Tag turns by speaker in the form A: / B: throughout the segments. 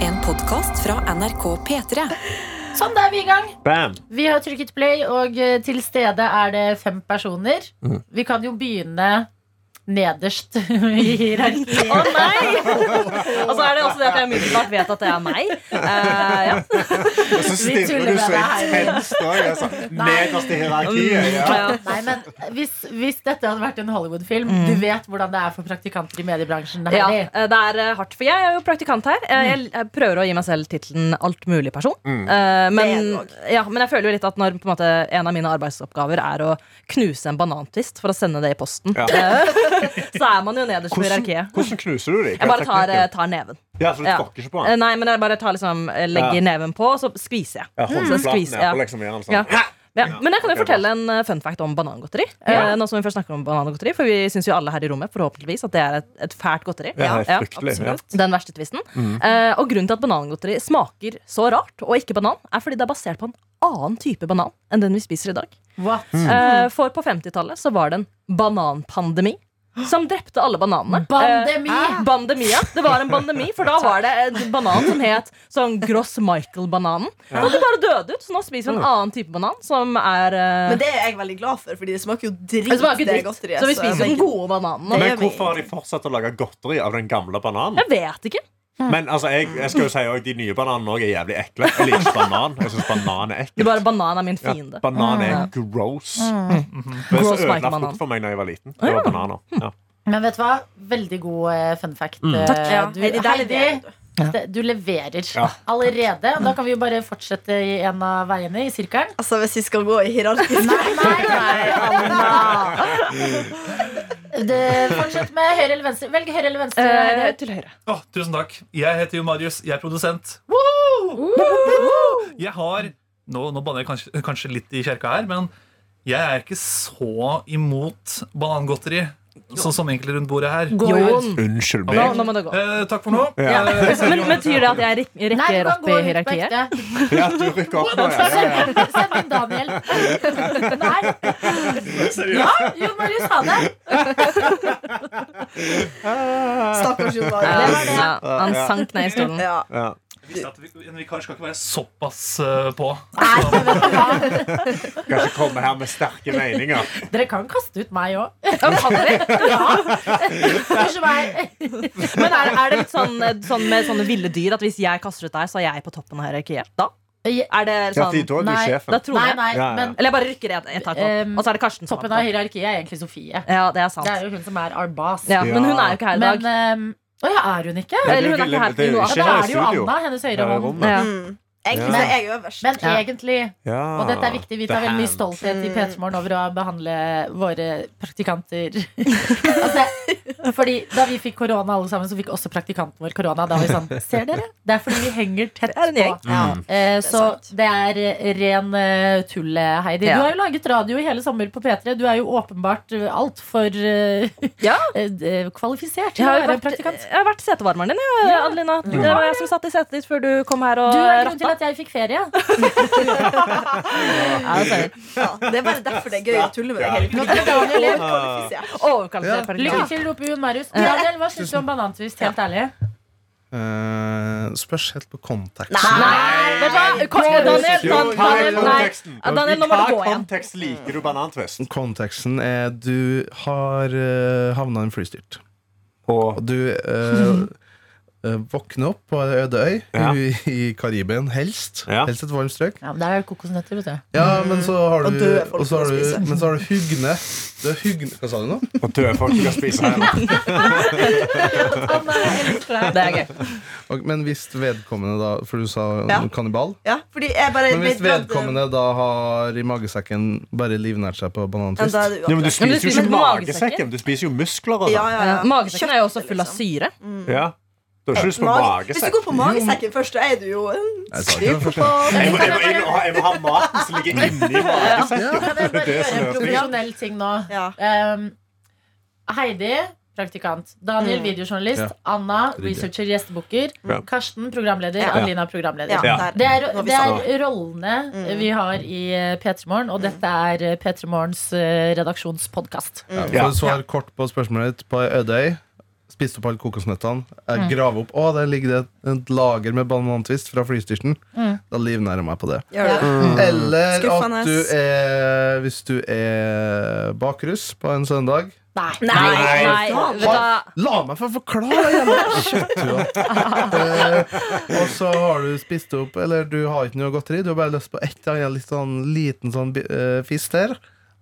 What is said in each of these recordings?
A: En podkast fra NRK P3.
B: Sånn, da er vi i gang.
C: Bam!
B: Vi har trykket play, og eh, til stede er det fem personer. Vi kan jo begynne nederst i hierarkiet.
D: Å nei! Og så er det også det at jeg umiddelbart vet at det er meg. Eh, ja.
C: Og så
B: Vi tuller
C: stirrer du
B: med
C: så
B: deg her.
C: intenst òg. Altså. Nederst i hierarkiet. Ja.
D: Ja.
B: Nei, men hvis, hvis dette hadde vært en Hollywood-film Du vet hvordan det er for praktikanter i mediebransjen. Det er
D: Ja,
B: herlig.
D: eh, det er eh, hardt, for jeg er jo praktikant her. Eh, Jeg jeg prøver å gi meg selv tittelen altmuligperson.
C: Mm.
D: Eh, Men, ja, men jeg føler jo litt at når på en, måte, en av mine arbeidsoppgaver er å knuse en banantvist for å sende det i posten,
C: Ja.
D: eh, så er man jo nederst på
C: Hvordan,
D: hierarkiet.
C: hvordan knuser du dem?
D: Jeg bare tar, eh, tar neven.
C: ja, så du
D: ja.
C: tråkker ikke på
D: Eh,
C: den?
D: Nei, men jeg bare tar liksom, eh, legger
C: Ja.
D: neven på, og så skviser jeg.
C: Ja,
D: Så
C: Hånden flatt
D: skviser- mm, ja.
C: nedpå, liksom. Gjør den sånn.
D: Ja. Ja. Men jeg kan jo
C: Det er
D: fortelle en eh, fun fact om banangodteri. Eh, nå som Vi først snakker om banangodteri For vi syns jo alle her i rommet forhåpentligvis at det er et, et fælt godteri.
C: Ja, det er fryktelig, ja. Mm.
D: absolutt. Den verste tvisten. Eh, og grunnen til at banangodteri smaker så rart, og ikke banan, er fordi det er basert på en annen type banan enn den vi spiser i dag.
B: What?
D: Eh, for på 50-tallet så var det en bananpandemi. Som drepte alle bananene.
B: Bandemi!
D: Eh, bandemi, ja. Det var en bandemi, for da var det en banan som het sånn Gross Michael-bananen. Og det bare døde ut, så nå spiser vi en annen type banan som er eh,
E: Men det er jeg veldig glad for, Fordi det smaker jo dritt.
D: det smaker
E: det
D: dritt,
E: godteriet,
D: så vi spiser den
E: men-
D: gode bananen.
C: Men
E: er vi-
C: hvorfor har de fortsatt å lage godteri av den gamle bananen?
D: Jeg vet ikke.
C: Men altså, jeg, jeg skal jo si også, de nye bananene også er jævlig ekle. Jeg liker ikke banan. Jeg synes banan er ekkelt.
D: Det er bare banan er min
C: Ja,
D: fiende.
C: banan er gross. Det
D: Gross
C: så ødela
D: Michael-banan.
C: frukt for meg da jeg var liten. Det var bananer. Ja.
B: Men vet du hva? Veldig god eh, fun fact. eh,
E: Ja,
B: Du,
E: Heidi, der
B: Heidi,
E: leverer du.
B: det- du leverer
C: Ja.
B: allerede. Da kan vi jo bare fortsette i en av veiene i sirkelen.
E: Altså, hvis vi skal gå i hierarkisk
B: Nei, nei, Anna! Det, fortsett med høyre eller venstre. Velg høyre eller venstre.
D: Eh,
B: Heidi.
D: til høyre.
F: Å, tusen takk. Jeg heter jo Marius. Jeg er produsent. Jeg har Nå, nå banner jeg kanskje, kanskje litt i kjerka her, men jeg er ikke så imot banangodteri, sånn som enkelte rundt bordet her.
D: Jon.
C: Unnskyld
D: Nå,
C: meg.
D: nå må det gå.
F: Eh, takk for nå.
C: Ja.
F: Eh,
D: Men Betyr det at jeg rek-
B: Nei, du
D: rekker
B: kan
D: opp
B: gå ut
D: i
B: på
D: hierarkiet?
B: ekte.
C: Ja, du rykker opp nå, ja. ja, ja.
B: Send send inn Daniel. Nei. Ja, Jon Marius, ha det.
E: Stakkars Jon
D: Ja,
E: Daniel.
D: ja, han
C: Ja.
D: sank ned i stolen.
E: Ja.
C: Ja.
F: jeg visste at vi- En vikar skal ikke være såpass eh, på.
B: Nei, men vet du hva?
C: Kanskje komme her med sterke meninger.
B: Dere kan kaste ut meg òg.
D: Ja, men kan dere?
B: Unnskyld meg.
D: Men er, er det litt sånn, sånn med sånne ville dyr at hvis jeg kaster ut deg, så er jeg på toppen av hierarkiet? Da er det
C: Ja,
D: sånn
C: fordi da er du
B: Nei,
C: sjefen.
D: Da tror
B: Nei,
D: jeg
B: nei,
C: Ja, ja.
B: men
D: Eller jeg bare rykker et, et tak opp.
B: Um,
D: Og så er det Karsten som
B: toppen av
D: er på toppen.
B: hierarkiet er egentlig Sofie.
D: Ja, det er sant.
B: Det er jo hun som er our boss.
D: Ja, men hun er jo ikke her i dag.
B: Men ehm, Å ja, er hun ikke?
D: Eller hun er ikke her
C: Det er jo
D: nå.
B: Ja,
C: ikke
B: da
C: her
B: er
C: i
B: det jo
C: studio.
B: Anna, hennes høyre
C: Her i
B: hånd.
C: rommet.
D: Ja.
E: Mm. Egentlig
C: Ja.
E: så er jeg øverst.
B: Men
D: Ja.
B: egentlig,
C: Ja.
B: og dette er viktig, vi tar
C: The
B: veldig mye
C: hand.
B: stolthet i P3 Morgen over å behandle våre praktikanter altså, Fordi da vi fikk korona alle sammen, så fikk også praktikanten vår korona. Da var vi sånn Ser dere? Det er fordi vi henger tett
D: er en
B: på.
D: gjeng.
B: Ja. Eh,
E: er
B: så
E: sant.
B: det er eh, ren eh, tull, eh, Heidi.
D: Ja.
B: Du har jo laget radio i hele sommer på P3. Du er jo åpenbart eh, altfor eh,
D: Ja.
B: eh, d- kvalifisert
D: Jeg
B: til å
D: har, jo
B: være
D: vært,
B: praktikant.
D: jeg har vært setevarmeren din, jeg, Adelina. Det var jeg som satt i setet ditt før du kom her og
B: Du er grunnen til
D: ratta.
B: at jeg fikk ferie. altså,
D: Ja, det ser jeg.
E: Ja, det er bare derfor det er gøy å tulle med deg hele tiden.
B: Daniel, jeg-
E: Kvalifisert.
D: Overkvalifisert
B: Lykke
D: praktikant.
B: til, roper Jon Marius. Daniel, hva syns du om banantvist? Helt ærlig.
G: Eh, spørs helt på konteksten.
D: Vet du hva? Kom, Daniel,
C: Jo,
D: Dan-
C: ta
D: Daniel,
C: konteksten.
D: nei. Ja, Daniel, nå må
C: I
D: du gå
C: hva
D: igjen.
C: kontekst liker du banantvist?
G: Konteksten er du har uh, havna i en flystyrt.
C: Og
G: Og du eh, eh, våkner opp på ei øde øy
C: Ja.
G: i, i Karibien, helst.
C: Ja.
G: Helst et varmt strøk.
B: Ja, men Det er jo kokosnøtter, vet du.
G: Ja, men så har
E: Og
G: du,
E: døde folk
G: og så har
E: å
G: du,
E: spise.
G: men så har du hugne. Du er hugne Hva sa du nå?
C: og døde folk skal spise her. nå.
D: Det er gøy.
G: Og, men hvis vedkommende da For du sa
E: Ja.
G: kannibal.
E: Ja, fordi jeg bare
G: Men hvis
E: ble redd-
G: vedkommende da har i magesekken bare livnært seg på
E: Ja,
G: banantvist
E: da er det
C: Ja, men du
E: uaktuelt.
C: spiser jo
D: spiser
C: ikke
D: magesekken.
C: magesekken, du spiser jo muskler og
E: Ja,
C: sånn.
E: ja,
D: Ja,
E: ja.
D: Magesekken er jo også
E: Kjøttet,
D: full av
E: liksom.
D: syre.
C: Ja. Du har ikke lyst på
E: Mage- Hvis du
C: magesekk.
E: går på magesekken først, så er du jo en
G: Jeg sa ikke det først.
C: Jeg må, jeg, må, jeg, må, ha- jeg må ha maten som ligger inni magesekken.
B: Kan jeg bare
C: Det er
B: gjøre en
C: så
B: profesjonell ting nå?
E: Ja.
B: Um, Heidi, praktikant. Daniel, videojournalist.
G: Ja.
B: Anna,
G: Ryddig.
B: researcher, gjestebooker.
C: Ja.
B: Karsten, programleder.
E: Ja.
B: Adelina, programleder.
E: Ja,
C: Ja.
E: der.
B: Det er,
E: Nå har vi
B: det Mm.
E: sagt
B: er rollene vi har i P3 Morgen, og dette er P3 Morgens redaksjonspodkast.
G: Ja, for
C: Ja.
G: å svare kort på spørsmålet ditt. På ei øde øy spist opp alle kokosnøttene. Jeg graver opp Å, der ligger det et- et lager med banantvist fra flystyrten. Da livnærer jeg meg på det.
E: Gjør det.
G: Eller
E: Skuffende.
G: at du er Hvis du er bakruss på en søndag.
E: Nei,
D: Nei, vet du hva?
G: La meg få forklare det jævla kjøttua! Eh, og så har du spist opp Eller du har ikke noe godteri, du har bare lyst på ett eller annet litt sånn liten sånn bi- eh, fist her.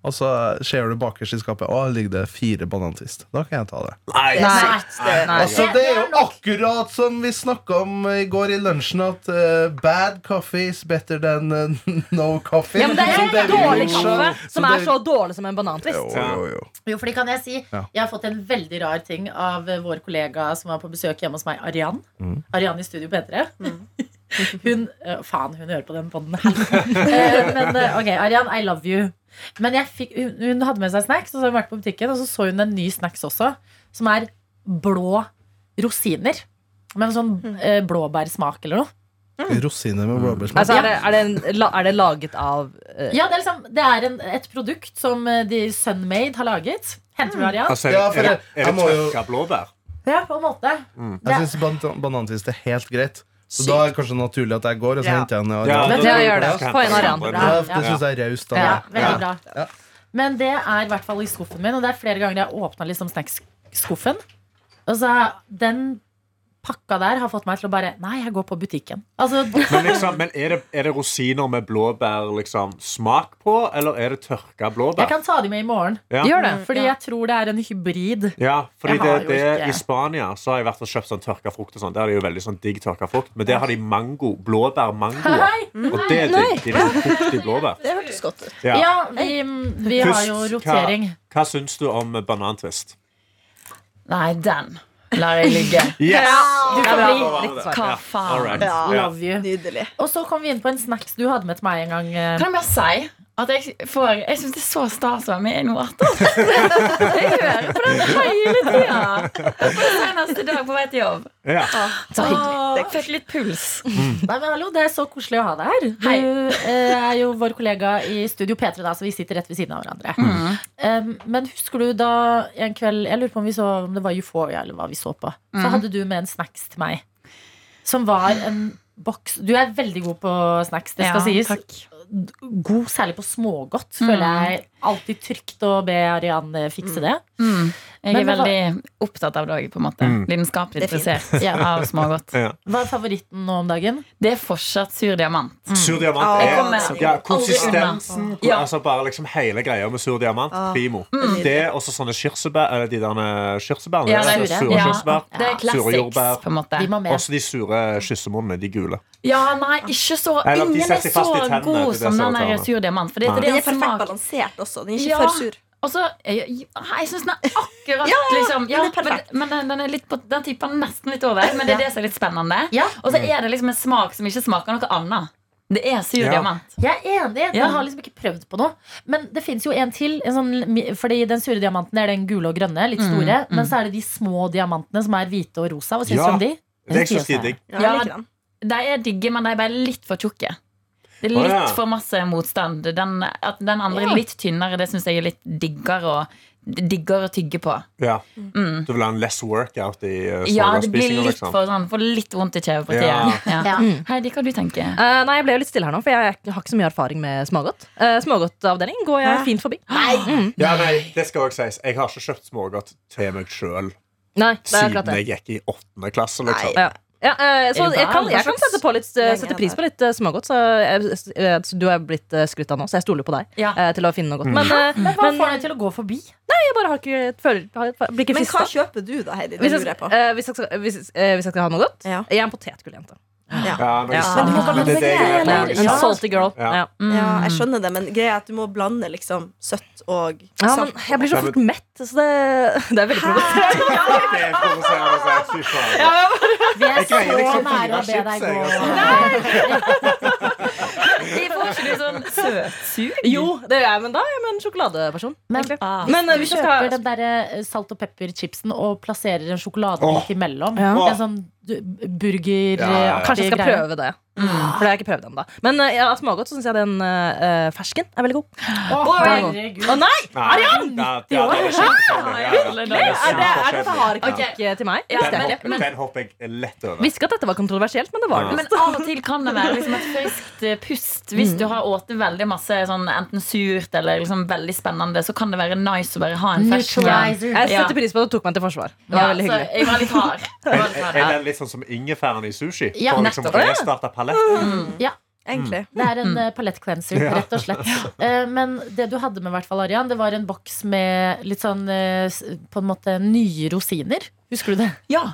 G: Og så ser du bakerst i skapet Å, her ligger det fire banantvist. Da kan jeg ta det.
C: Nei,
D: Nei. Nei.
G: Altså, det er jo akkurat som vi snakka om i går i lunsjen, at eh, bad coffee is better than eh, no coffee.
D: Ja, men det
G: Som
D: er en
G: David
D: dårlig
G: Lynch sa.
D: kaffe som er
G: David-
D: så dårlig som en banantvist.
G: Jo, jo, jo.
B: Jo, fordi kan jeg si
G: Ja.
B: Jeg har fått en veldig rar ting av eh, vår kollega som var på besøk hjemme hos meg, Arian. Arian i Studio P3. Hun eh, Faen, hun hører på den poden her. Eh, Men eh, ok, Arian, I love you. Men jeg fikk, hun, hun hadde med seg snacks, og så har hun vært på butikken, og så så hun en ny snacks også, som er blå rosiner. Med en sånn eh, blåbærsmak eller noe.
G: Rosiner med blåbærsmak.
D: Mm. Altså, er, det, er, det en, la- er det laget av eh,
B: Ja, Det er, liksom, det er en, et produkt som eh, de Sunmade har laget. Henter du Arian?
C: Altså,
G: Ja, for
C: er det,
G: jeg-
C: er
G: jeg
C: det
G: må jo-
C: tørka blåbær?
B: Ja, på en måte. Det-
G: Mm. Jeg syns ban banantvist er helt greit. Så da er det kanskje naturlig at jeg går, og så
E: Ja.
G: henter jeg en. og-
C: Ja,
G: Ja,
D: Ja, gjør det. Få en Arian.
G: det syns jeg er raust. av
B: Ja,
G: deg.
B: veldig bra.
G: Ja.
B: Men det er i hvert fall i skuffen min, og det er flere ganger jeg har åpna liksom snacksskuffen. Og så har Altså, den pakka der har fått meg til å bare Nei, jeg går på butikken. Altså,
C: Men, liksom, men er, det, er det rosiner med blåbær liksom, smak på, eller er det tørka blåbær?
B: jeg kan ta de med i morgen,
C: Ja.
D: Gjør det.
B: fordi jeg tror det er en hybrid.
C: Ja, fordi
B: Jeg har
C: det,
B: jo
C: det,
B: ikke-
C: I Spania så har jeg vært og kjøpt sånn tørka frukt. og sånn Der er det jo veldig sånn digg tørka frukt Men der har de mango, blåbær-mango.
B: Hei!
C: Og det er
D: Nei.
C: digg. De er sånn frukt i blåbær.
E: Det hørtes godt ut.
C: Ja.
B: Ja, vi, vi har jo
C: Pust,
B: rotering.
C: Hva, hva syns du om banantvist?
H: Nei, den lar jeg ligge.
C: Yes!
B: Du får bli.
H: Hva
C: All
H: faen?
C: right.
E: Ja.
C: Ja.
B: Love you.
E: Nydelig.
B: Og så kom vi inn på en snacks du hadde med til meg en gang. eh.
H: Kan jeg bare si at jeg får Jeg syns det er så stas å være med i noe artig. Jeg hører på den hele tida. Senest i dag på vei til jobb.
C: Ja.
H: Så hyggelig. Fikk litt puls.
B: Nei, men hallo, Det er så koselig å ha deg her. Du
H: Hei.
B: eh, er jo vår kollega i Studio P3, da, så vi sitter rett ved siden av hverandre.
H: Mm.
B: Um, men husker du da en kveld Jeg lurer på om vi så om det var Euphoria eller hva vi så på. Så
H: Mm.
B: hadde du med en snacks til meg. Som var en boks Du er veldig god på snacks, det skal sies. God særlig på smågodt, føler jeg. Alltid trygt å be Arian eh, fikse det.
H: Mm. Mm. Jeg
B: Men
H: er
B: det var-
H: veldig opptatt av det òg, på en måte.
C: Mm.
H: Lidenskapelig
E: Det er fint.
H: interessert av smågodt.
B: Hva er favoritten nå om dagen?
H: Det er fortsatt sur diamant.
C: Sur diamant
E: Ah,
H: jeg kommer
C: er
H: aldri
C: ja, Konsistensen
H: unna. Ja.
C: Altså bare liksom hele greia med sur diamant.
E: Ah.
C: Primo.
E: Mm.
C: Det og så sånne kirsebær Eller de der kirsebærene.
H: Ja,
C: det er
B: er
H: det
C: så
B: sure.
C: Sure
H: Ja.
C: kirsebær.
H: Det er
C: Sure jordbær.
H: classics, på en måte.
B: De må med.
C: Også de sure kyssemunnene. De gule.
H: Ja, nei, ikke så
C: Eller at de
H: Ingen er
C: setter
H: så
C: fast i tennene til
H: god
C: det
H: som den der
C: sauerkranen.
H: sur diamant. For det,
C: Nei.
H: det
E: Den
H: er
E: er
H: en
E: perfekt
H: smak
E: balansert også. Den er
H: Ja.
E: ikke for sur.
H: Og så eh, Jeg, jeg syns den er akkurat
E: Ja,
H: liksom, ja,
E: den er
H: Men,
E: perfekt.
H: men den, den, er litt på, den tipper nesten litt over, men det er det som er litt spennende.
B: Ja,
H: Og så
C: Mm.
H: er det liksom en smak som ikke smaker noe annet. Det er sur
C: Ja.
H: diamant.
B: Jeg er enig.
H: Ja.
B: Jeg har liksom ikke prøvd på noe. Men det fins jo en til. En sånn, mi- fordi den sure diamanten er den gule og grønne. Litt
D: Mm,
B: store. Men så er det de små diamantene som er hvite og rosa. Hva syns du
C: Ja.
B: om
D: Mm.
B: de?
C: Det er ikke så stidig.
E: Ja,
H: Ja.
E: jeg liker den.
H: De er digge, men de er bare litt for tjukke. Det er
C: Å,
H: litt
C: ja.
H: for masse motstand. Den, at den andre
B: Ja.
H: er litt tynnere, det syns jeg er litt diggere, og, diggere å tygge på.
C: Ja.
H: Mm.
C: Du vil ha en less workout i uh,
H: Ja, det blir
C: smågodtspisinga,
H: litt
C: liksom.
H: for sånn, får litt vondt i kjevepartiet.
C: Ja.
H: Ja.
B: Ja.
H: Heidi, hva du tenker du?
D: Eh, nei, jeg ble jo litt stille her nå, for jeg er- har ikke så mye erfaring med smågodt. Uh, Smågodtavdeling går jeg fint forbi. Mm.
C: Ja, nei, det skal også sies. Jeg har ikke kjøpt smågodt til meg sjøl
D: Nei, det er akkurat
C: siden
D: det.
C: jeg gikk i åttende klasse. Liksom.
D: Ja. Ja, eh, så
H: Er du
D: jeg kan,
H: gal?
D: jeg kan sette, på litt, eh,
E: Lenge
D: sette
E: er
D: pris
E: det?
D: på litt eh, smågodt. Så jeg, eh, du er blitt eh, skrytt av nå, så jeg stoler på deg
H: Ja.
D: eh, til å finne noe godt. Men,
C: Mm.
D: eh,
B: Men hva
D: men
B: får deg til å gå forbi?
D: jeg bare har ikke, føler, har, blir ikke
E: Men hva
D: frista.
E: kjøper du da, Heidi? Det
D: Hvis,
E: lurer
D: jeg-
E: jeg på.
D: eh, hvis, jeg skal- hvis, eh, hvis jeg skal ha noe godt,
E: Ja.
D: jeg er en potetgulljente.
C: Ja, noe
D: Ja.
C: sånt.
E: Men du må
C: Men det er det jeg er
B: Ja.
C: på, liksom.
D: En salty girl.
C: Ja.
D: Ja.
E: Ja, jeg skjønner det, men greia er at du må blande liksom søtt og
D: Ja, men
E: salt.
D: jeg blir så
C: Ja, men-
D: fort mett, så det, det er veldig provoserende.
C: Det er provoserende, så jeg- fy faen.
B: Vi er
C: Jeg greier
B: så
C: liksom
B: nære å
C: fire
B: be deg
C: chips, jeg,
B: gå.
C: altså.
B: Nei!
H: Vi får Var ikke du sånn søtsug?
D: Jo, det gjør jeg, men da er jeg med en sjokoladeperson.
B: Men,
D: egentlig.
H: Ah.
D: men eh,
B: du
D: hvis jeg
B: kjøper
D: skal
B: den der eh, salt og pepper-chipsen og plasserer en sjokoladebit imellom.
D: Ja.
B: En sånn du- burger eh,
C: Ja, ja, ja.
D: Kanskje jeg skal
B: greier.
D: prøve det. For det har jeg ikke prøvd ennå. Men eh, av smågodt så syns jeg den eh, fersken er veldig god.
B: Å,
D: Oi.
B: herregud.
D: Å nei!
C: Arian! Ja, det er kjempeforskjellig. Ja, ja.
H: Nei,
C: Det er
D: Er det, er dette
C: kjempeforskjellig.
D: hardkokk eh, til meg?
H: Ja,
D: Visste jeg
C: Den
D: ikke.
C: hopper- Den hopper jeg lett over.
D: Visste ikke at dette var kontroversielt, men det var det.
H: Men av og til kan det være liksom et friskt eh, pust.
D: Mm.
H: Hvis du har åte veldig masse sånn, enten surt eller liksom veldig spennende, så kan det være nice å bare ha en fersk
B: Neutralizer.
D: Jeg
H: Ja.
D: setter pris på at du tok meg til forsvar. Det
H: Ja,
D: var veldig
H: så
D: hyggelig.
H: jeg var litt hard. Jeg var litt
C: Er
H: hard.
C: er den litt sånn som ingefæren i sushi?
B: Ja,
C: For å liksom
H: nettopp.
C: restarte paletten?
E: Egentlig.
B: Det er en mm. palettcleanser, rett og slett. Eh, Men det du hadde med, hvert fall, Arian, det var en boks med litt sånn eh, s- på en måte nye rosiner. Husker du det?
H: Ja.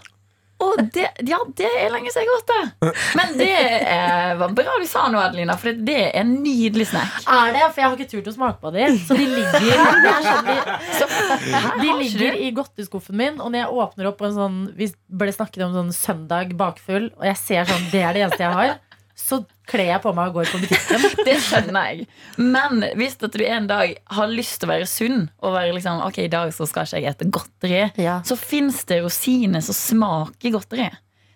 H: Og det, ja, det er lenge siden jeg har gått det. Men det eh, var bra du sa noe, Adelina, for det er en nydelig snack.
B: Er det? For jeg har ikke tur til å smake på dem. Så de ligger det er sånn de, de
H: har ikke
B: ligger i godteskuffen min, og når jeg åpner opp på en sånn Vi ble snakket om sånn søndag bakfull, og jeg ser sånn Det er det eneste jeg har. Så kler jeg på meg og går på butikken.
H: Det skjønner jeg. Men hvis at du en dag har lyst til å være sunn, og være liksom, ok, i dag så skal ikke jeg ete godteri,
B: Ja.
H: så fins det rosiner som smaker godteri.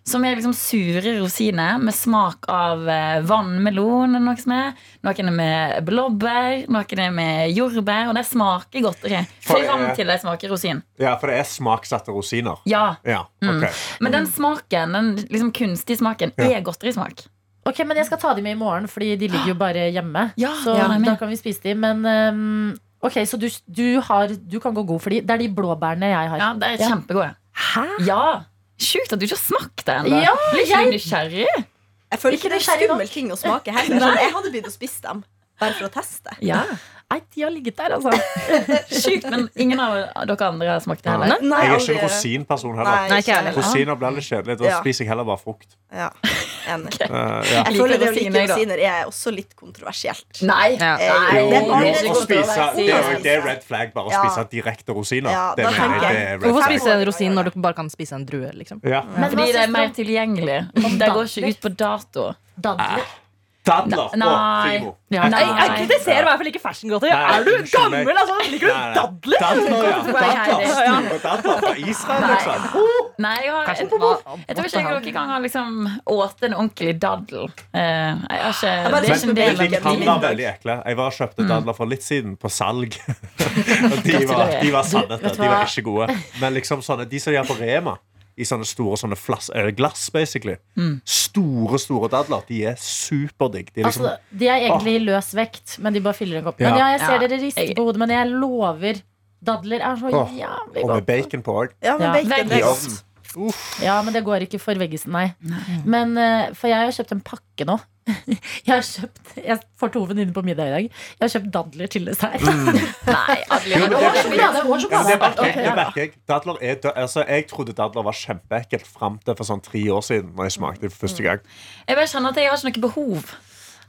H: Som er liksom sure rosiner med smak av eh, vannmelon. eller Noe som er. Noen er med blåbær, noen er med jordbær. Og det smaker godteri.
C: For,
H: Fram
C: eh,
H: til det smaker rosin.
C: Ja, for det er smaksatte rosiner.
H: Ja,
C: Ja, ok.
H: Men den smaken, den liksom kunstige smaken, er godterismak.
B: Ok, men jeg skal ta dem med i morgen, Fordi de ligger jo bare hjemme.
H: Ja,
B: så
H: ja, jeg er med.
B: da kan vi spise dem. Men ehm, ok, så du, du, har, du kan gå god for dem. Det er de blåbærene jeg har.
H: Ja, det er kjempegode.
B: Hæ?
H: Ja, Sjukt at du ikke har smakt det ennå.
B: Ja,
H: Blir ikke du nysgjerrig?
E: Jeg føler
B: Ikke
E: ikke det er
B: nysgjerrig nok.
E: skummel ting å smake heller. Sånn, jeg hadde begynt å spise dem bare for å teste.
H: Ja,
B: Nei, de har ligget der, altså.
H: Sjukt, men ingen av dere andre har smakt det heller.
C: Nei,
E: Nei,
C: Jeg er ikke en
E: aldri.
C: rosinperson
E: Nei,
C: heller.
D: Nei, ikke jeg
E: heller.
C: Rosiner blir litt kjedelig. Da
E: Ja.
C: spiser jeg heller bare frukt.
E: Ja, enig.
C: Eh, ja.
E: Jeg
H: liker
E: føler det å like
H: rosiner, jeg, da.
E: rosiner er også litt kontroversielt.
H: Nei.
D: Ja.
E: Eh, det er
C: Jo,
E: bare-
C: jo,
H: det er
C: å
H: godt å
C: spise,
H: være
C: det, er,
E: sin.
C: jo- det er red flag bare å
E: Ja.
C: spise direkte rosiner.
E: Ja,
C: det
E: da
C: mener jeg
E: tenker
C: det
E: jeg.
C: er red
D: Hvorfor
C: flag.
D: spise en rosin når du bare kan spise en drue? liksom?
C: Ja.
B: Men hva
H: Fordi det
B: syns
H: er
B: du
H: mer
B: om
H: tilgjengelig. Det går ikke ut på dato.
B: dadler?
C: Dadler
H: Nei.
C: og Primo.
B: Ja.
H: Nei,
D: Jeg
H: jeg
D: kritiserer i hvert fall ikke ferskengodteri.
C: Nei,
D: Er du
C: unnskyld meg.
D: gammel, altså? Liker du
C: Nei, nei.
D: dadler?
C: Dadler, ja.
H: Hvorfor er jeg det?
C: Dadler. Og dadler fra Israel,
H: Nei.
C: liksom.
H: Nei, jeg, har, jeg,
D: Kanskje det var-
H: tror ikke jeg noen gang har liksom åt en ordentlig daddel. Eh, jeg har ikke,
E: bare
H: det er ikke en del av
C: Men de
H: mitt
C: kan
H: liv.
C: være veldig ekle. Jeg var og kjøpte dadler for litt siden på salg. Og de var, de var
B: vet
C: sannheter.
B: du
C: De var
B: hva?
C: ikke gode. Men liksom sånne, de som de har på Rema, i sånne store sånne flass, eh, glass, basically. Store, store dadler. De er superdigg. De er liksom
B: Altså, de er egentlig i løs vekt, men de bare fyller en kopp.
C: Ja.
B: Men ja, jeg ser
H: Ja.
B: dere rister
H: Jeg-
B: på hodet, men jeg lover. Dadler er så
C: Åh,
B: jævlig
C: Og
B: godt.
C: med bacon på òg.
E: Ja,
B: Ja.
E: men bacon det
C: I
E: er godt.
C: ovnen.
B: Ja, men det går ikke for veggisen, nei. Men, eh, for jeg har kjøpt en pakke nå. Jeg har kjøpt Jeg får to venninner på middag i dag. Jeg har kjøpt dadler til dessert.
C: Mm.
H: Nei, Adeline,
C: Jo, men
H: det var ikke
B: Sjokolade og
C: Ja, men det
B: sjokolade.
C: merker jeg.
B: Ok,
C: Det merker jeg. Dadler er dø altså, jeg trodde dadler var kjempeekkelt fram til for sånn tre år siden. Når jeg smakte det for første gang
H: Jeg bare kjenner at jeg har ikke noe behov.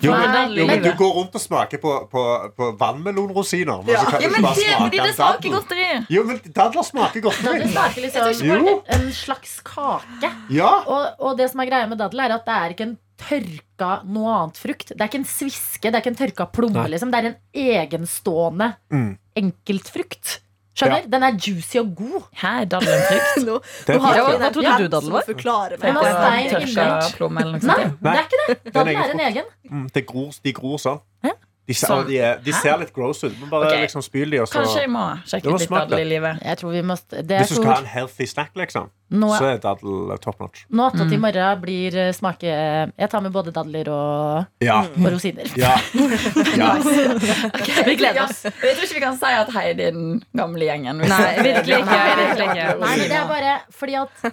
C: Jo,
H: Nei,
C: men,
H: dadler
C: jo, men
H: lever.
C: du går rundt og smaker på, på, på vannmelonrosiner. Men så kan du
H: Ja,
C: ikke
H: men
C: bare
H: det, altså.
C: smake
H: fordi det
C: en
H: smaker
C: daddel.
H: godteri.
C: Jo, men dadler smaker
B: Dadler
C: godt.
B: smaker liksom
C: Jo,
B: en slags kake.
C: ja
B: Og, og det som er greia med dadel, er at det er ikke en tørka noe annet frukt. Det er ikke en sviske, det er ikke en tørka plomme.
C: Nei.
B: Liksom. Det er en egenstående
C: Mm.
B: enkeltfrukt. Skjønner? Den er juicy og god.
H: Her er daddelen frukt.
E: Nå,
C: Den,
E: har
D: Ja,
E: vi
D: hva
E: den
D: trodde du,
E: som
D: Dadel, var?
E: forklarer
H: Det
E: meg.
B: var
H: er
B: stein
H: sånn tørka
B: innlagt.
H: plomme eller noe
B: Nei,
H: sånt.
B: det er ikke det. Dadel
C: egen
B: er en egen.
C: mm, det gror, de gror sånn.
B: Hæ?
C: De ser,
H: Sånn.
C: de, er, de ser litt gross ut. Men bare
H: Ok.
C: liksom spyl de, og så
H: Kanskje jeg må
C: Det
H: sjekke
C: var
H: ut litt
C: smart,
H: dadel i
C: det.
H: livet.
B: Jeg tror vi må st- det er
C: Hvis du skal ha
B: stor-
C: en healthy snack, liksom,
B: Nå
C: så er dadel eh, top notch.
B: nå attåt i morgen blir eh, smake Jeg tar med både dadler og,
C: Ja.
B: og rosiner.
C: Mm. Ja. ja.
D: Vi gleder oss.
H: Ja, Jeg tror ikke vi kan si at Heidi er den gamle gjengen. hvis
D: Nei,
H: det-
D: virkelig ikke.
H: Nei,
D: Virkelig ikke.
B: Nei, men det er bare fordi at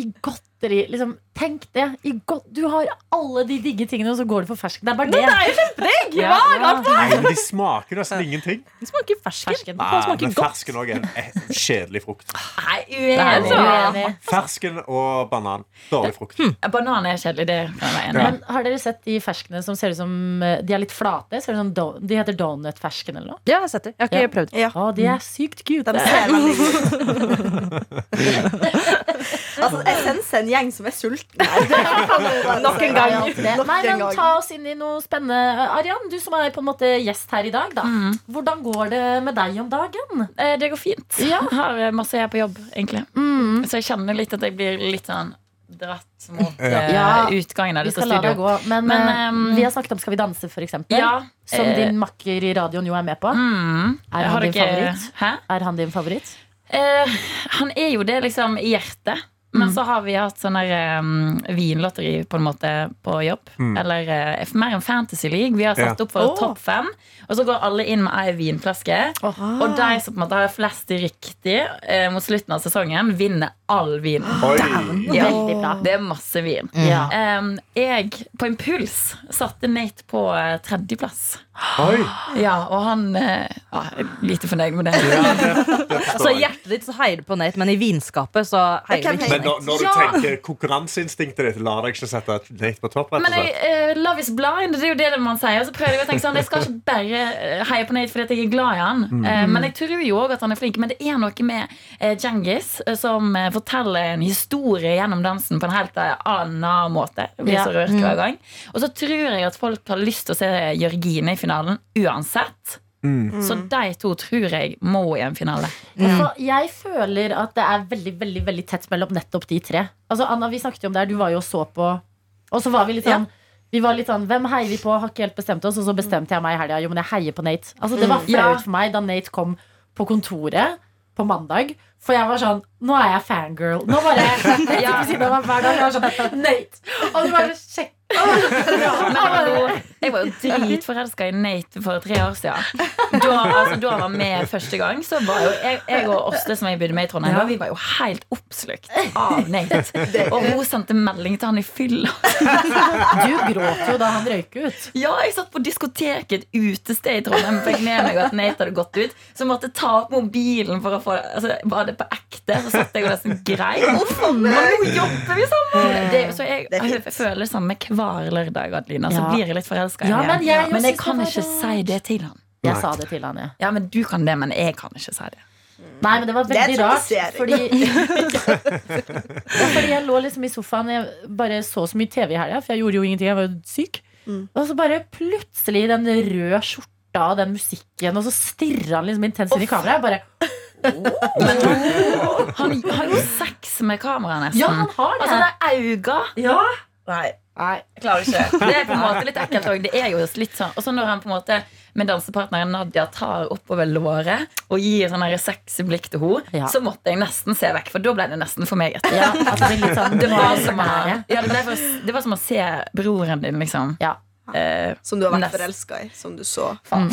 B: i godteri liksom, Tenk det. I godt, du har alle de digge tingene, og så går du for fersk. Det er bare det.
D: er jo kjempedigg!
B: Ja, ja.
C: Nei, men de smaker nesten ingenting.
D: Det smaker fersken.
B: Fersken.
D: Det
C: Nei,
D: faen smaker
C: men
D: godt.
C: fersken òg er en eh, kjedelig frukt.
H: Nei,
D: Nei,
H: uenig.
D: altså.
B: Uenig.
C: Fersken og banan. Dårlig frukt.
H: Hmm. Banan er kjedelig, det kan jeg være enig i.
C: Ja.
B: Men har dere sett de ferskene som ser ut som eh, De er litt flate? Ser ut som do de heter donutfersken eller noe?
D: Ja, jeg har sett det. Jeg har ikke
B: Ja.
D: prøvd.
E: Ja,
B: Å, de er sykt
E: de
B: cute.
E: ser veldig gode ut. Altså, essens er en gjeng som er sulten. her. Det kan man jo bare
D: Nok
E: si.
B: sånn
D: en gang.
E: Ja,
B: Alt det.
E: Nok
B: Nei,
E: en
B: men
E: gang.
B: Ta oss inn i noe spennende. Arian, du som er på en måte gjest her i dag. Da.
H: Mm.
B: Hvordan går det med deg om dagen?
H: Eh, Det går fint. Jeg har eh, masse jeg er på jobb, egentlig.
B: Mm.
H: Så jeg kjenner litt at jeg blir litt sånn dratt mot eh,
B: Ja.
H: utgangen av
B: Vi
H: dette
B: skal la deg
H: studioet.
B: gå. Men,
H: Men,
B: eh,
H: ehm,
B: vi har snakket om Skal vi danse, for eksempel.
H: Ja.
B: Som
H: eh,
B: din makker i radioen jo er med på.
H: mm,
B: Er han
H: har
B: din
H: dere-
B: favoritt?
H: Hæ?
B: Er han din favoritt?
H: Eh, han er jo det liksom i hjertet. Men
B: Mm.
H: så har vi hatt sånn der um, vinlotteri på en måte eh, på jobb. Eller eh, mer en fantasy league. Vi har satt opp for
E: Åh.
H: topp fem. Og så går alle inn med ei vinflaske. Og de som på en måte har flest riktig eh, mot slutten av sesongen, vinner all vin. Ja.
B: Veldig bra.
H: Det er masse vin.
B: Ja.
H: Em, jeg, på impuls, satte Nate på eh, tredjeplass.
C: Oi.
H: Ja, og han eh, ja, jeg er lite fornøyd med det. Altså,
D: Så i hjertet ditt så heier du på Nate, men i vinskapet så heier
E: hvem
D: du ikke
E: heier
C: Men
D: på
C: når,
D: Nate.
C: når du
H: Ja.
C: tenker konkurranseinstinktet ditt, lar deg ikke sette Nate på topp? Rett og
H: Men jeg,
C: slett.
H: eh, love is blind, det er jo det man sier. Og så prøver jeg å tenke sånn, jeg skal ikke bare eh, heie på Nate fordi at jeg er glad i han. Eh, men jeg tror jo òg at han er flink. Men det er noe med uh, Djengis eh, som eh, forteller en historie gjennom dansen på en helt eh, annen måte. Jeg blir
B: Ja.
H: så rørt hver gang. Og så tror jeg at folk har lyst til å se Jørgine i finalen uansett. Så de to tror jeg må i en finale.
B: Altså, jeg føler at det er veldig veldig, veldig tett mellom nettopp de tre. Altså, Anna, vi snakket jo om det her. Du var jo og så på Og så var vi litt sånn Vi var litt sånn, Hvem heier vi på? Har ikke helt bestemt oss. Og så bestemte jeg meg i helga. Jo, men jeg heier på Nate. Altså, Det var
H: Mm. Ja.
B: flaut for meg da Nate kom på kontoret på mandag. For jeg var sånn Nå er jeg fangirl. Nå bare ja. Hver dag jeg var sånn Nate! Og du bare sjekk
H: Men hallo, jeg var jo dritforelska i Nate for tre år siden. Da, altså, da han var med første gang, så var jo jeg, jeg og Åste, som jeg bodde med i Trondheim, da, vi var jo helt oppslukt av Nate. Og hun sendte melding til han i fylla.
B: Du gråt jo da han røyk ut.
H: Ja, jeg satt på diskoteket et utested i Trondheim fikk med meg at Nate hadde gått ut. Så måtte jeg ta opp mobilen for å få altså, Var det på ekte? Så satt jeg og nesten grein. Og nå jobber vi sammen! Det, så jeg,
E: Det er fint.
H: jeg føler det samme hver lørdag, Adelina. Så
B: Ja.
H: blir jeg litt forelska
B: Ja, men jeg jo
H: Men jeg
B: synes
H: kan
B: det var
H: ikke si
B: rart.
H: det til han.
B: Jeg sa det til han, ja.
H: Ja, men Du kan det, men jeg kan ikke si det.
B: Nei, men det var
E: Det er
B: veldig rart.
E: trakassering.
B: Fordi, ja, fordi jeg lå liksom i sofaen Jeg bare så så mye TV i helga, for jeg gjorde jo ingenting. Jeg var jo syk.
E: Mm.
B: Og så bare plutselig den røde skjorta og den musikken, og så stirrer han liksom intenst inn i kameraet. Jeg bare,
H: Han har jo sex med kameraet, nesten.
B: ja, han har det!
H: Altså, det er øynene.
B: ja.
E: Nei.
H: Jeg klarer ikke. Det er på en måte litt ekkelt òg. Det er jo litt sånn Og så når han på en måte med dansepartneren Nadia tar oppover låret og gir sånn her sexy blikk til henne,
B: Ja.
H: så måtte jeg nesten se vekk, for da ble det nesten for meg. etter
B: ja altså, det, er litt sånn,
H: det var, som å,
B: nære.
H: ja, det, ble for, det var som å se broren din, liksom.
B: Ja.
H: Eh,
E: Som du har vært
H: Nest.
E: forelska i. Som du så.
H: nei,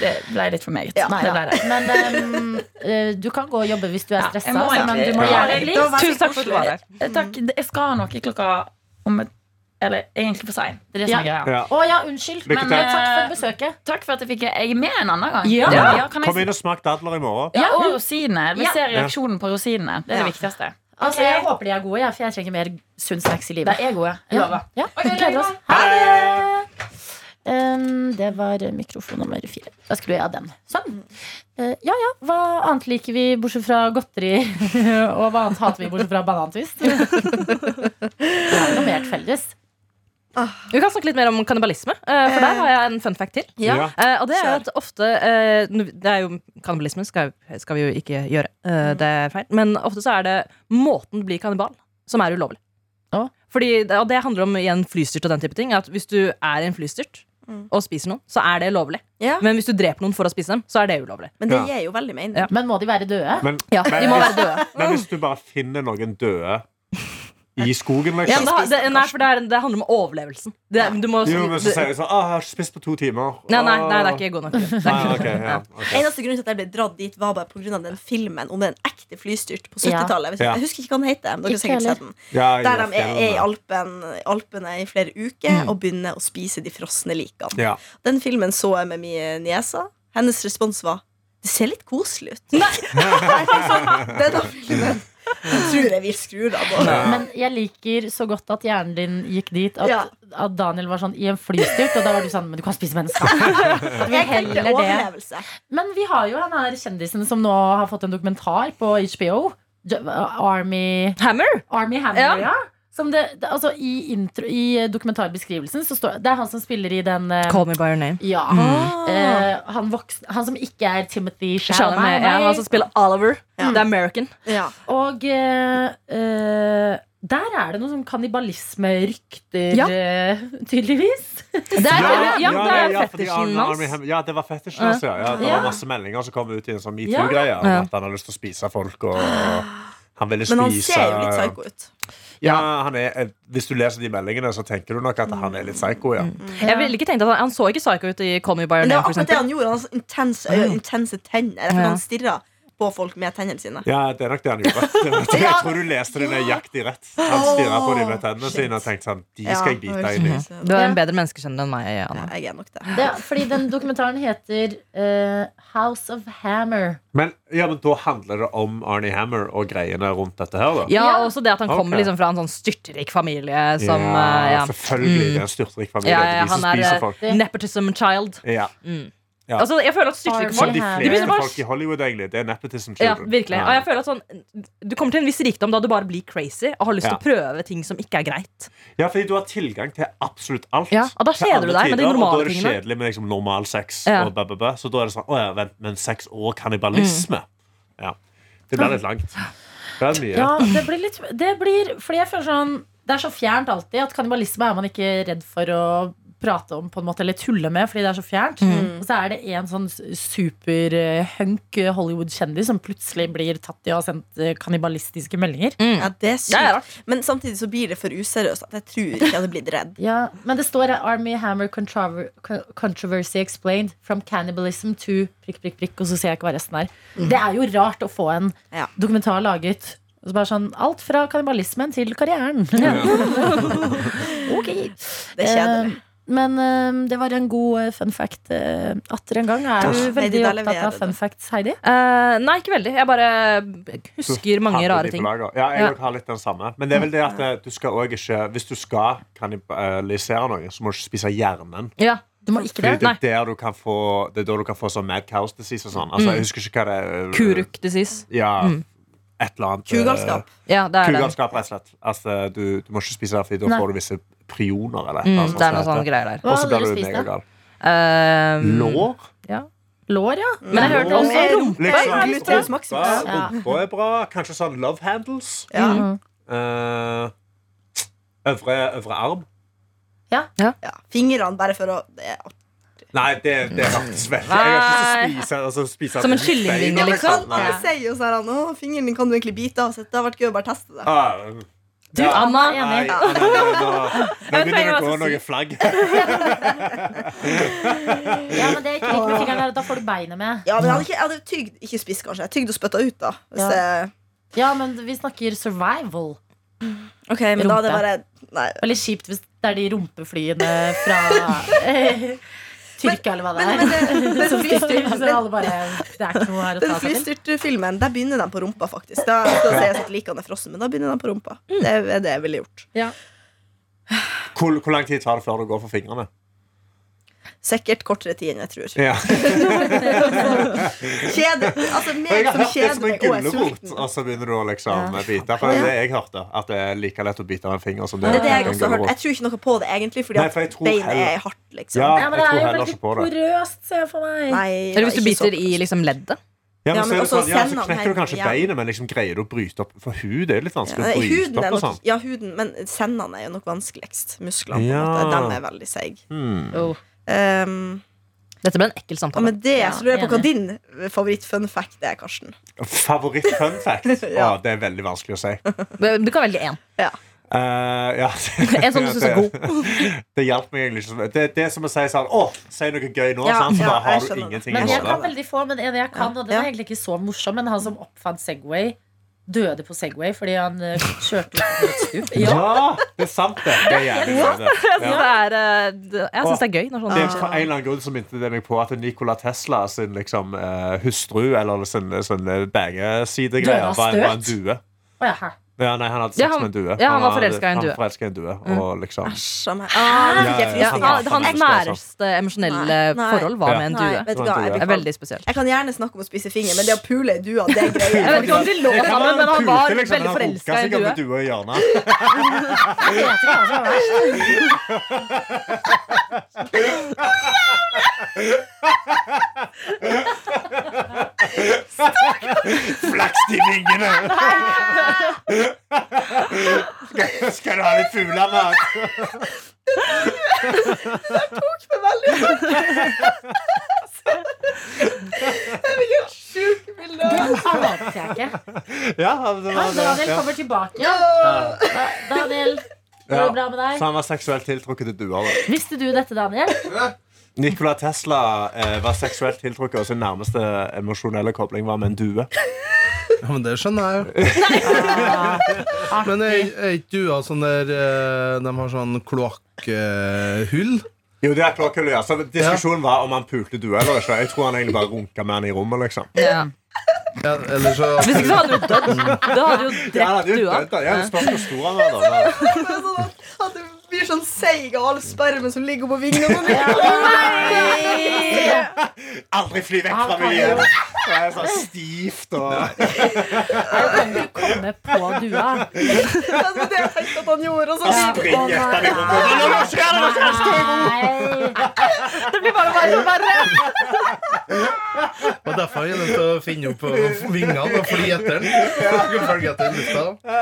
H: det ble litt for meg.
E: Ja.
H: Det ble det.
B: Men ehm, eh, du kan gå og jobbe hvis du er
H: Ja, jeg
B: stressa,
H: må
B: altså, men
H: egentlig-
B: du må
H: Ja.
B: gjerne bli.
E: Da var det
D: Tusen takk for at du var her.
H: Eh, Takk. det- Jeg skal ha noe klokka om et Eller egentlig for seint. Det er det som er
B: Ja.
H: greia.
C: Ja.
B: Å ja, unnskyld.
C: Lykke
B: Men
C: til.
B: eh, takk for besøket.
H: Takk for at jeg fikk Jeg er med en annen gang.
B: Ja.
H: kan jeg
C: Kom
H: si-
C: inn og smak dadler i morgen.
H: Ja, og rosiner. Vi
B: Ja.
H: ser reaksjonen på rosinene. Det er det viktigste.
B: Altså, Jeg håper de er gode, jeg, for jeg trenger mer sunn snacks i livet.
H: De er gode. Jeg lover.
B: Ja, vi gleder oss. Ha det! Um,
H: Mm,
B: det var
H: eh,
B: mikrofon nummer fire. Da skulle jeg ha den. Sånn. Eh, ja ja, hva annet liker vi bortsett fra godteri? og hva annet hater vi bortsett fra banantvist? det er noe mer til felles.
D: Vi kan snakke litt mer om kannibalisme, eh, for der har jeg en fun fact til.
C: Ja.
D: Eh, og det er at ofte eh, nu- det er jo, Kannibalisme skal, skal vi jo ikke gjøre. eh, det er feil. Men ofte så er det måten du blir kannibal, som er ulovlig.
B: Å.
D: Fordi, det- og det handler om igjen flystyrt og den type ting. At Hvis du er i en flystyrt og spiser noen, så er det lovlig.
E: Ja.
D: Men hvis du dreper noen for å spise dem, så er det ulovlig.
E: Men
C: Ja.
E: det gir jo veldig mening.
D: Ja.
B: Men må de være døde?
C: Men,
D: Ja,
C: men,
D: de må være
C: hvis,
D: døde.
C: men hvis du bare finner noen døde i skogen,
D: Ja, men
C: liksom
D: det, det, nei, for det, er, det handler om overlevelsen. Det, du må,
C: Jo, men så
D: det-
C: sier jeg sånn ah, 'Jeg har ikke spist på to timer'.
D: nei, nei, nei, det er ikke god nok. Det er
C: Nei,
D: ikke-
C: ok, ja, ok.
E: Eneste grunn til at jeg ble dratt dit, var bare pga. den filmen om den ekte flystyrt på 70-tallet.
C: Ja.
E: Jeg husker ikke hva den heter. men Dere har
B: Ikke
E: sikkert sett den
C: Ja,
E: Der
C: ja,
E: de er, er i
C: fjellene.
E: Alpen, Alpene i flere uker
B: Mm.
E: og begynner å spise de frosne likene.
C: Ja.
E: Den filmen så jeg med min niese. Hennes respons var Det ser litt koselig ut. Jeg fikk sånn, Denne filmen jeg tror jeg vi skrur av. nå.
B: Men jeg liker så godt at hjernen din gikk dit at,
E: Ja.
B: at Daniel var sånn i en flystyrt, og da var du sånn Men du kan spise mennesker. At vi
E: Jeg
B: heller
E: tenkte
B: det
E: overlevelse.
B: Men vi har jo han her kjendisen som nå har fått en dokumentar på HBO. J- uh, Army
D: Hammer?
B: Army Hammer,
D: Ja.
B: ja. Som det, det, altså, I, intro, I eh, dokumentarbeskrivelsen så står det er han som spiller i den eh,
D: Call me by your name.
B: Ja. Eh, han, voksne, han som ikke er Timothy
D: Mm. Chalamet,
B: Chalamet.
D: ja, han som spiller Oliver.
E: Ja.
D: The American.
E: Ja.
B: Og eh, eh, der er det noe sånn kannibalisme-rykter,
D: Ja.
B: eh, tydeligvis.
D: Det er, ja,
C: ja,
D: det er
C: ja, fordi
D: fetisjen
C: Army- Army
D: hans.
C: Hammer- ja, det var fetisjen hans, ja. ja. Det
B: Ja.
C: var masse meldinger som kom ut i en sånn
B: Ja.
C: metoo-greie om
D: Ja.
C: at han har lyst til å spise folk. og han ville spise
E: Men han ser jo litt
D: sånn
E: psycho ut.
C: Ja, han er, Hvis du leser de meldingene, så tenker du nok at han er litt psycho, ja.
D: Jeg ville ikke tenkt at han, han så ikke psycho ut i Call me by your
E: Men det
D: name.
E: var
D: For
E: akkurat det
D: eksempel.
E: han gjorde. Han hadde så intense, øyne, intense tenner. Derfor
D: Ja.
E: Han stirra på folk med tennene sine.
C: Ja, det er nok det han gjorde. Det er nok det. Jeg tror du leste det nøyaktig rett. Han stirra på de med tennene sine og tenkte sånn De skal jeg bite inn i.
E: Ja,
D: Du er en bedre menneskeskjønner enn meg. Anna.
E: Jeg er nok det.
B: Det, fordi den dokumentaren heter eh, House of Hammer.
C: Men, ja, men da handler det om Arnie Hammer og greiene rundt dette her, da.
D: Ja,
B: Ja.
D: og også det at han
C: Ok.
D: kommer liksom fra en sånn styrtrik familie som
C: ja,
D: eh, ja.
C: selvfølgelig. Det er en styrtrik familie.
D: Ja,
C: Det er
D: ja,
C: de som
D: han er,
C: spiser
D: eh,
C: folk.
D: Nepotism child.
C: Ja. Ja.
D: Altså, jeg føler at styrtrike
B: Farm.
C: Som de
B: her.
D: Det blir
C: fleste
D: så bare-
C: folk i Hollywood, egentlig. Det er nepotism
D: Ja,
C: children.
D: virkelig. Og jeg føler at sånn, du kommer til en viss rikdom da du bare blir crazy og har lyst til
C: Ja.
D: å prøve ting som ikke er greit.
C: Ja, fordi du har tilgang til absolutt alt.
D: Ja, og da
C: Til
D: kjeder du
C: alle
D: deg med de
C: tider,
D: normale
C: Og da er det
D: tingene.
C: kjedelig med liksom normal sex.
D: Ja.
C: Og bæ, bæ, bæ. Så da er det sånn Å ja, vent, men sex og kannibalisme?
D: Mm.
C: Ja. Det blir litt langt. Det er mye.
B: Ja, det blir litt det blir, Fordi jeg føler sånn Det er så fjernt alltid at kannibalisme er man ikke redd for å prate om på en måte Eller tulle med, fordi det er så fjernt. Og så er det en sånn superhunk Hollywood-kjendis som plutselig blir tatt i å ha sendt eh, kannibalistiske meldinger.
E: Ja, det er
D: Det er
E: sykt. Men samtidig så blir det for useriøst at jeg tror ikke jeg hadde blitt redd.
B: Ja, Men det står her, Army Hammer controver co- Controversy Explained. From cannibalism to prikk, prikk, prikk. Og så ser jeg ikke hva resten er. Det er jo rart å få en
E: Ja.
B: dokumentar laget. og Så bare sånn, alt fra kannibalismen til karrieren. ok.
E: Det er kjedelig.
B: Eh, Men eh, det var en god eh, fun fact eh, atter en gang. Er du
E: Takk.
B: veldig
E: Heidi, da
B: opptatt
E: leverer
B: av
E: du.
B: fun facts, Heidi?
D: Eh, nei, ikke veldig. Jeg bare husker mange
C: Hadde
D: rare
C: de på
D: ting.
C: lager. Ja, jeg
D: Ja.
C: også har litt den samme. Men det er vel det at eh, du skal også ikke Hvis du skal kannibalisere noe, så må du ikke spise hjernen.
D: Ja.
B: Du må ikke
C: Fordi
B: det.
C: det,
D: Nei.
C: er der du kan få, det er da du kan få sånn mad cows disease og sånn.
D: Mm.
C: Altså, jeg husker ikke hva det er.
D: Kuruk disease.
C: Ja, et eller annet. eh,
E: Kugalskap.
D: Ja, det er det.
C: Kugalskap, rett og slett. Altså, du, du må ikke spise det, for da
B: Nei.
C: får du visse prioner. Eller,
D: Mm,
C: noe sånt
D: det er noe
C: som heter.
D: sånne greier der.
B: Hva
C: Og så
B: hadde
C: blir
B: du
C: du
B: spist, da?
C: megagal.
D: Eh,
C: Lår?
B: Lår, ja.
D: Men jeg hørte også
E: Lår.
D: rumpe.
E: Liksom.
D: er litt bra.
E: Gluteus maximus.
B: Ja.
C: Rumpa er bra. Kanskje sånn love handles.
E: Ja.
C: Eh, øvre, øvre arm.
E: Ja. Fingrene bare for å det er artig.
C: Nei, det, det er faktisk veldig Jeg har ikke lyst til å spise, altså, spise
D: Som en
C: et bein,
D: kyllingvinge, liksom?
C: Nei.
E: Alle sier jo sånn her, Å, fingeren din kan du egentlig bite av. Så det har vært gøy å bare teste det.
C: Ah,
B: Du,
C: ja.
B: Anna,
C: Nei,
B: enig.
C: Anna, Nå nå
D: Jeg vet hva
C: begynner det
D: jeg
C: å gå
D: skal si.
C: noe flagg.
B: Ja, men det er ikke likt med fingeren, der, da får du beinet med.
E: Ja, men jeg hadde, ikke, jeg hadde tygd, ikke spist kanskje, jeg tygd og spytta ut, da. Hvis
B: Ja.
E: jeg-
B: Ja, men vi snakker survival.
E: Ok, men da
B: Rumpe.
E: hadde jeg bare Nei.
B: Veldig kjipt hvis det er de rumpeflyene fra eh, Tyrkia, eller hva det
E: Men,
B: er.
E: men, det- men,
B: Som
E: fly-
B: stikker ut, så
E: men
B: alle bare Det er ikke noe her å
E: den
B: ta seg til.
E: flystyrtfilmen, der begynner de på rumpa, faktisk. Da, da sier jeg at likene er frossen, men da begynner de på rumpa. Det er det jeg ville gjort.
C: Hvor, hvor lang tid tar det før det går for fingrene?
E: Sikkert kortere tid enn jeg tror.
C: Ja.
E: Kjede, altså,
C: Jeg
E: meg
C: har hørt
E: som
C: det som
E: kjeder
C: en altså.
E: meg og er
C: gulrot,
E: sulten.
C: og så begynner du å liksom bite. For det er det jeg hørte, at det er like lett å bite av en finger som det,
E: Det er det
C: er
E: jeg
C: en
E: også har hørt.
C: gulrot.
E: Jeg tror ikke noe på det, egentlig, fordi
C: Nei,
E: at
C: for jeg tror
E: beinet
C: heller-
E: er hardt, liksom.
C: Ja,
B: Ja, men
C: jeg
B: det er
C: tror
B: jo
C: heller
B: veldig
C: ikke på det.
B: porøst, ser jeg for meg.
E: Nei,
D: Eller hvis du
E: nei, ikke så
D: biter i
E: kanskje.
D: liksom
C: Ja,
D: leddet.
E: Ja,
C: men så, er det
E: men også
C: sånn, ja, så
E: sendene
C: knekker du
E: henger
C: kanskje
E: igjen.
C: beinet, men liksom greier du å bryte opp For hud er jo litt
E: Ja,
C: vanskelig
E: nei,
C: å
E: huden,
C: bryte
E: er
C: opp og
E: nok,
C: sånn.
E: ja, huden, men sendene er jo nok vanskeligst. Musklene på en
C: Ja.
E: måte, de er veldig seige.
C: Hmm.
E: Um,
D: Dette ble en ekkel
E: og
D: samtale.
E: med det
B: Ja,
E: så lurer jeg på hva
B: enig.
E: din eh, favoritt-fun fact er, Karsten.
C: Favoritt fun fact? Å,
E: Ja.
C: det er veldig vanskelig å si.
D: Du kan velge én.
C: Eh, ja.
D: En som du synes er
C: Det-
D: god.
C: Det hjalp meg egentlig ikke. så mye. Det, det er som å si sånn Å, si noe gøy nå,
E: Ja,
C: sant? Så
E: ja,
C: bare har
E: jeg
C: du
E: skjønner det.
C: ingenting i
B: Men jeg kan
C: hodet.
B: veldig få, men en jeg kan, og den
E: Ja.
B: er egentlig ikke så morsom, men han som oppfant Segway, døde på Segway fordi han eh, kjørte ut på et stup. Ja.
C: Ja, det er sant, det. Det er jævlig sant. det.
D: Så
C: Ja.
D: det er, eh, det- jeg syns det er gøy når
C: Det
D: sånne
C: er for en eller annen grunn så minte det meg på at Nikola Tesla sin liksom, eh, hustru eller sin, sin
B: Døde
C: bagesidegreie
B: av
C: var, var en
B: støt?
C: due.
B: Å, ja, hæ.
C: Ja, nei, han hadde sex
D: Ja, han-
C: med en due.
D: ja, han var
C: hadde-
D: forelska i en
C: han
D: due. Mm.
C: forelska i en due. Og liksom
E: Æsj a meg. Ah, nå fikk jeg
C: Ja, ja, ja.
D: Ja,
E: frysninger.
D: han- hans næreste emosjonelle
E: Nei, nei.
D: forhold var
C: Ja.
D: med en
E: Nei,
D: due.
E: vet du hva, jeg
D: Det er
E: blir kvalm.
D: veldig spesielt.
E: Jeg kan gjerne snakke om å spise finger, men det å pule i dua, det er greier.
D: Jeg vet ikke om de lå sammen, men han var
C: liksom.
D: veldig forelska i en due.
C: due i hjørnet. Flaks de vingene! Skal- Skal du ha litt fuglemat?
E: Det er veldig Jeg fikk en sjuk bilde.
B: Han vet jeg ikke.
C: Ja, det
B: Ja,
C: var det.
B: Daniel
C: Ja.
B: kommer tilbake.
E: Ja.
B: Da- Daniel, går det bra med
C: Så
B: deg?
C: han var seksuelt tiltrukket til duer. da.
B: Visste du dette, Daniel?
C: Nikola Tesla eh, var seksuelt tiltrukket, og sin nærmeste emosjonelle kobling var med en due.
G: Ja, men det skjønner jeg jo. Men er er ikke du av sånn der eh, De har sånn eh, kloakkhull?
C: Jo, det er klokkhull, ja. Så diskusjonen var om han pulte due eller ikke. Jeg tror han egentlig bare runka med han i rommet, liksom.
D: Ja.
G: Ja, eller så
D: Hvis ikke så hadde du dødd. Da hadde du
C: Ja, han
D: drept
C: hadde jo
D: dua.
C: dødd, da. Ja, det spørs hvor stor han var, da. Men-
E: Det er sånn at- At du blir sånn seig av all spermen som ligger oppå vingene.
C: Aldri fly vekk fra meg igjen! Det er sånn stivt og
B: Jeg kan ikke komme på dua.
E: Ja, Det var det jeg tenkte at han gjorde. Og så
C: Spring hjertet i rommet. Nå, nå skjer det! nå skjer det! Stå i ro!
B: Nei.
G: Og derfor er jeg nødt til å finne opp eh, vingene og fly etter den. Jeg skal følge etter den lufta.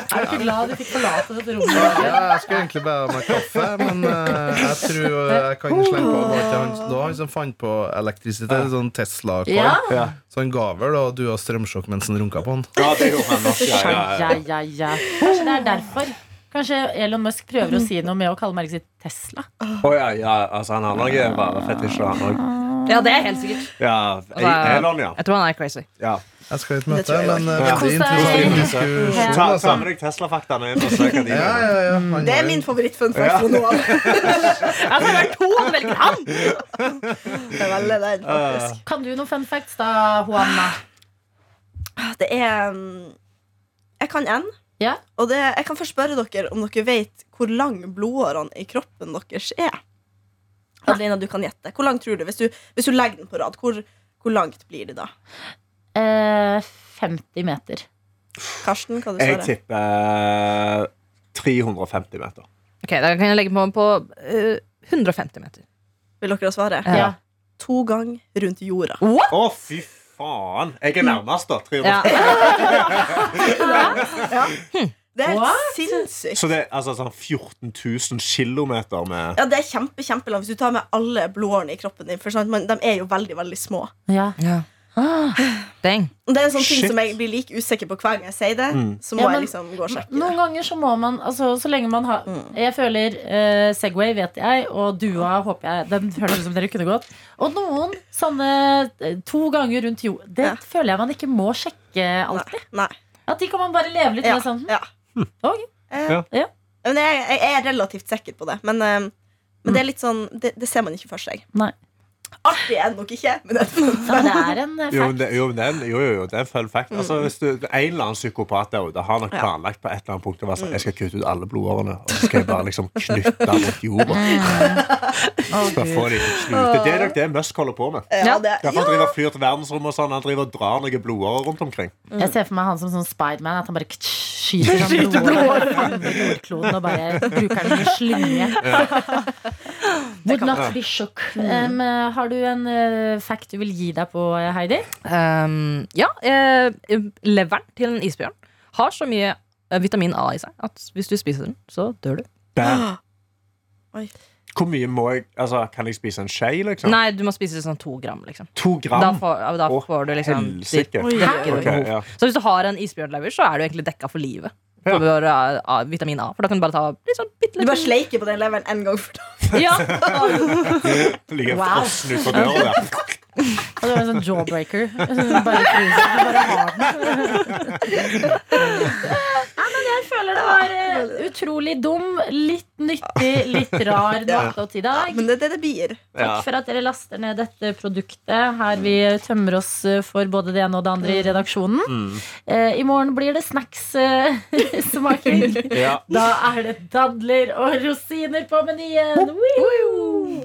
B: Er du ikke glad du fikk forlate dette
G: Ja,
B: rommet?
G: jeg skulle egentlig bare ha meg kaffe, men eh, jeg tror eh, jeg kan slenge på bare til han, Det var han som fant på elektrisitet, sånn Tesla-kar.
B: Ja.
C: Ja.
G: Så han ga vel da du og strømsjokk mens han runka på han.
C: Ja, det gjorde han nok. Ja, ja, ja.
B: Ja, ja, ja. Kanskje det er derfor. Kanskje Elon Musk prøver å si noe med å kalle merket sitt Tesla.
C: Å, ja, ja. Altså, han har nok bare fetisjer, han òg.
D: Ja, det er helt sikkert.
C: Ja. Elon, ja.
D: Jeg tror han er crazy.
C: ja.
G: Jeg skal i et
E: Det tror
G: møte,
E: jeg
G: men eh,
C: også.
G: veldig interessant diskusjon.
C: Ta, ta
G: altså.
C: med deg Tesla-faktaene inn og se hva de
G: Ja,
C: mener.
G: ja, ja. han
E: Det
G: har
E: er
G: jo-
E: min favorittfun fact fra nå av.
D: Jeg tror Altså, det er to han velger han!
E: Det er veldig der,
C: Ah.
E: faktisk.
B: Kan du noen fun facts, da, Juana?
E: Ah, Det er um, Jeg kan en.
B: Ja.
E: Og det, jeg kan først spørre dere om dere vet hvor lang blodårene i kroppen deres er. Adelina, du kan gjette. Hvor lang tror du? Hvis du, hvis du legger den på rad, hvor, hvor langt blir det da?
B: Eh, 50 meter.
E: Karsten, hva du
C: Jeg
E: svarer
C: tipper eh, 350 meter.
D: Ok, Da kan jeg legge på på eh, 150 meter.
E: Vil dere svare?
D: Ja.
B: Ja.
E: To ganger rundt jorda.
C: Å, fy faen! Jeg er nærmest, da. 350.
D: Ja.
E: Det er
B: What?
E: helt sinnssykt.
C: Så det er altså sånn 14 000 kilometer med
E: Ja, det er kjempe, kjempelangt hvis du tar med alle blodårene i kroppen din. For sant, man, de er jo veldig, veldig små.
B: Ja.
D: Ja. Ah, dang.
E: Og det er en sånn ting
C: Shit. Mm.
E: som jeg blir like usikker på hver gang jeg sier det. Så må
B: Ja, men-
E: jeg liksom gå og sjekke.
B: Noen
E: det.
B: ganger så må man altså, Så lenge man har
E: Mm.
B: Jeg føler eh, Segway vet jeg, og Dua håper jeg Den føles ut som dere kunne gått. Og noen sånne eh, to ganger rundt jord Det
E: Ja.
B: føler jeg man ikke må sjekke alltid.
E: Nei.
B: At de kan man bare leve litt
E: Ja,
B: med sånn.
E: ja.
B: Ok.
E: Eh,
C: Ja.
B: Ja.
E: Men jeg, jeg jeg er relativt sikker på det. Men, eh, men det er litt sånn Det, det ser man ikke for seg.
B: Hm. Nei.
E: Artig er det nok ikke, men det er
B: Ja, men det er en eh,
C: jo,
B: fact.
C: men det, jo, men det er en- jo, jo, jo, det er en fun fact. Altså, hvis du, en eller annen psykopat der ute har nok
E: Ja.
C: planlagt på et eller annet punkt å være sånn Jeg skal kutte ut alle blodårene, og så skal jeg bare liksom knytte rundt jorda. Skal få de til å knute. Det er nok det Musk holder på med.
E: ja, det,
C: Derfor han driver og flyr til verdensrommet og sånn. Han driver og drar noen blodårer rundt omkring.
B: Jeg ser for meg han som sånn Spiderman. At han bare ktsch, skyter sånn blodår under jordkloden og bare bruker den som slynge. Would not be shook. Em, eh, har du en eh, fact du vil gi deg på, eh, Heidi?
D: Um, ja, eh, leveren til en isbjørn har så mye eh, vitamin A i seg at hvis du spiser den, så dør du.
C: Bam.
E: Oi.
C: Hvor mye må jeg Altså, kan jeg spise en skje, liksom?
D: Nei, du må spise sånn to gram, liksom.
C: To
D: Da
C: gram?
D: får, ja, da
C: Å,
D: får du liksom ditt
C: Helsike. Ok,
D: dekker okay,
C: ja.
D: Så hvis du har en isbjørnlever, så er du egentlig dekka for livet. For eh, A- vitamin A, for da kan du bare ta litt sånn bitte
E: du bare
D: litt
E: sleiker på den leveren en gang for dagen.
D: ja.
C: Ligger
B: Wow.
C: frossen utenfor døra der.
B: Og du har en sånn jawbreaker. Bare fryser. Du bare har den. Nei, men jeg føler det var eh, utrolig dum, litt nyttig, litt rar nattlåt i dag.
E: Men det er det det blir.
C: Ja.
B: Takk for at dere laster ned dette produktet her vi tømmer oss eh, for både det ene og det andre i redaksjonen. Eh, I morgen blir det snacks-smaking.
C: Ja.
B: da er det dadler og rosiner på menyen! Woo!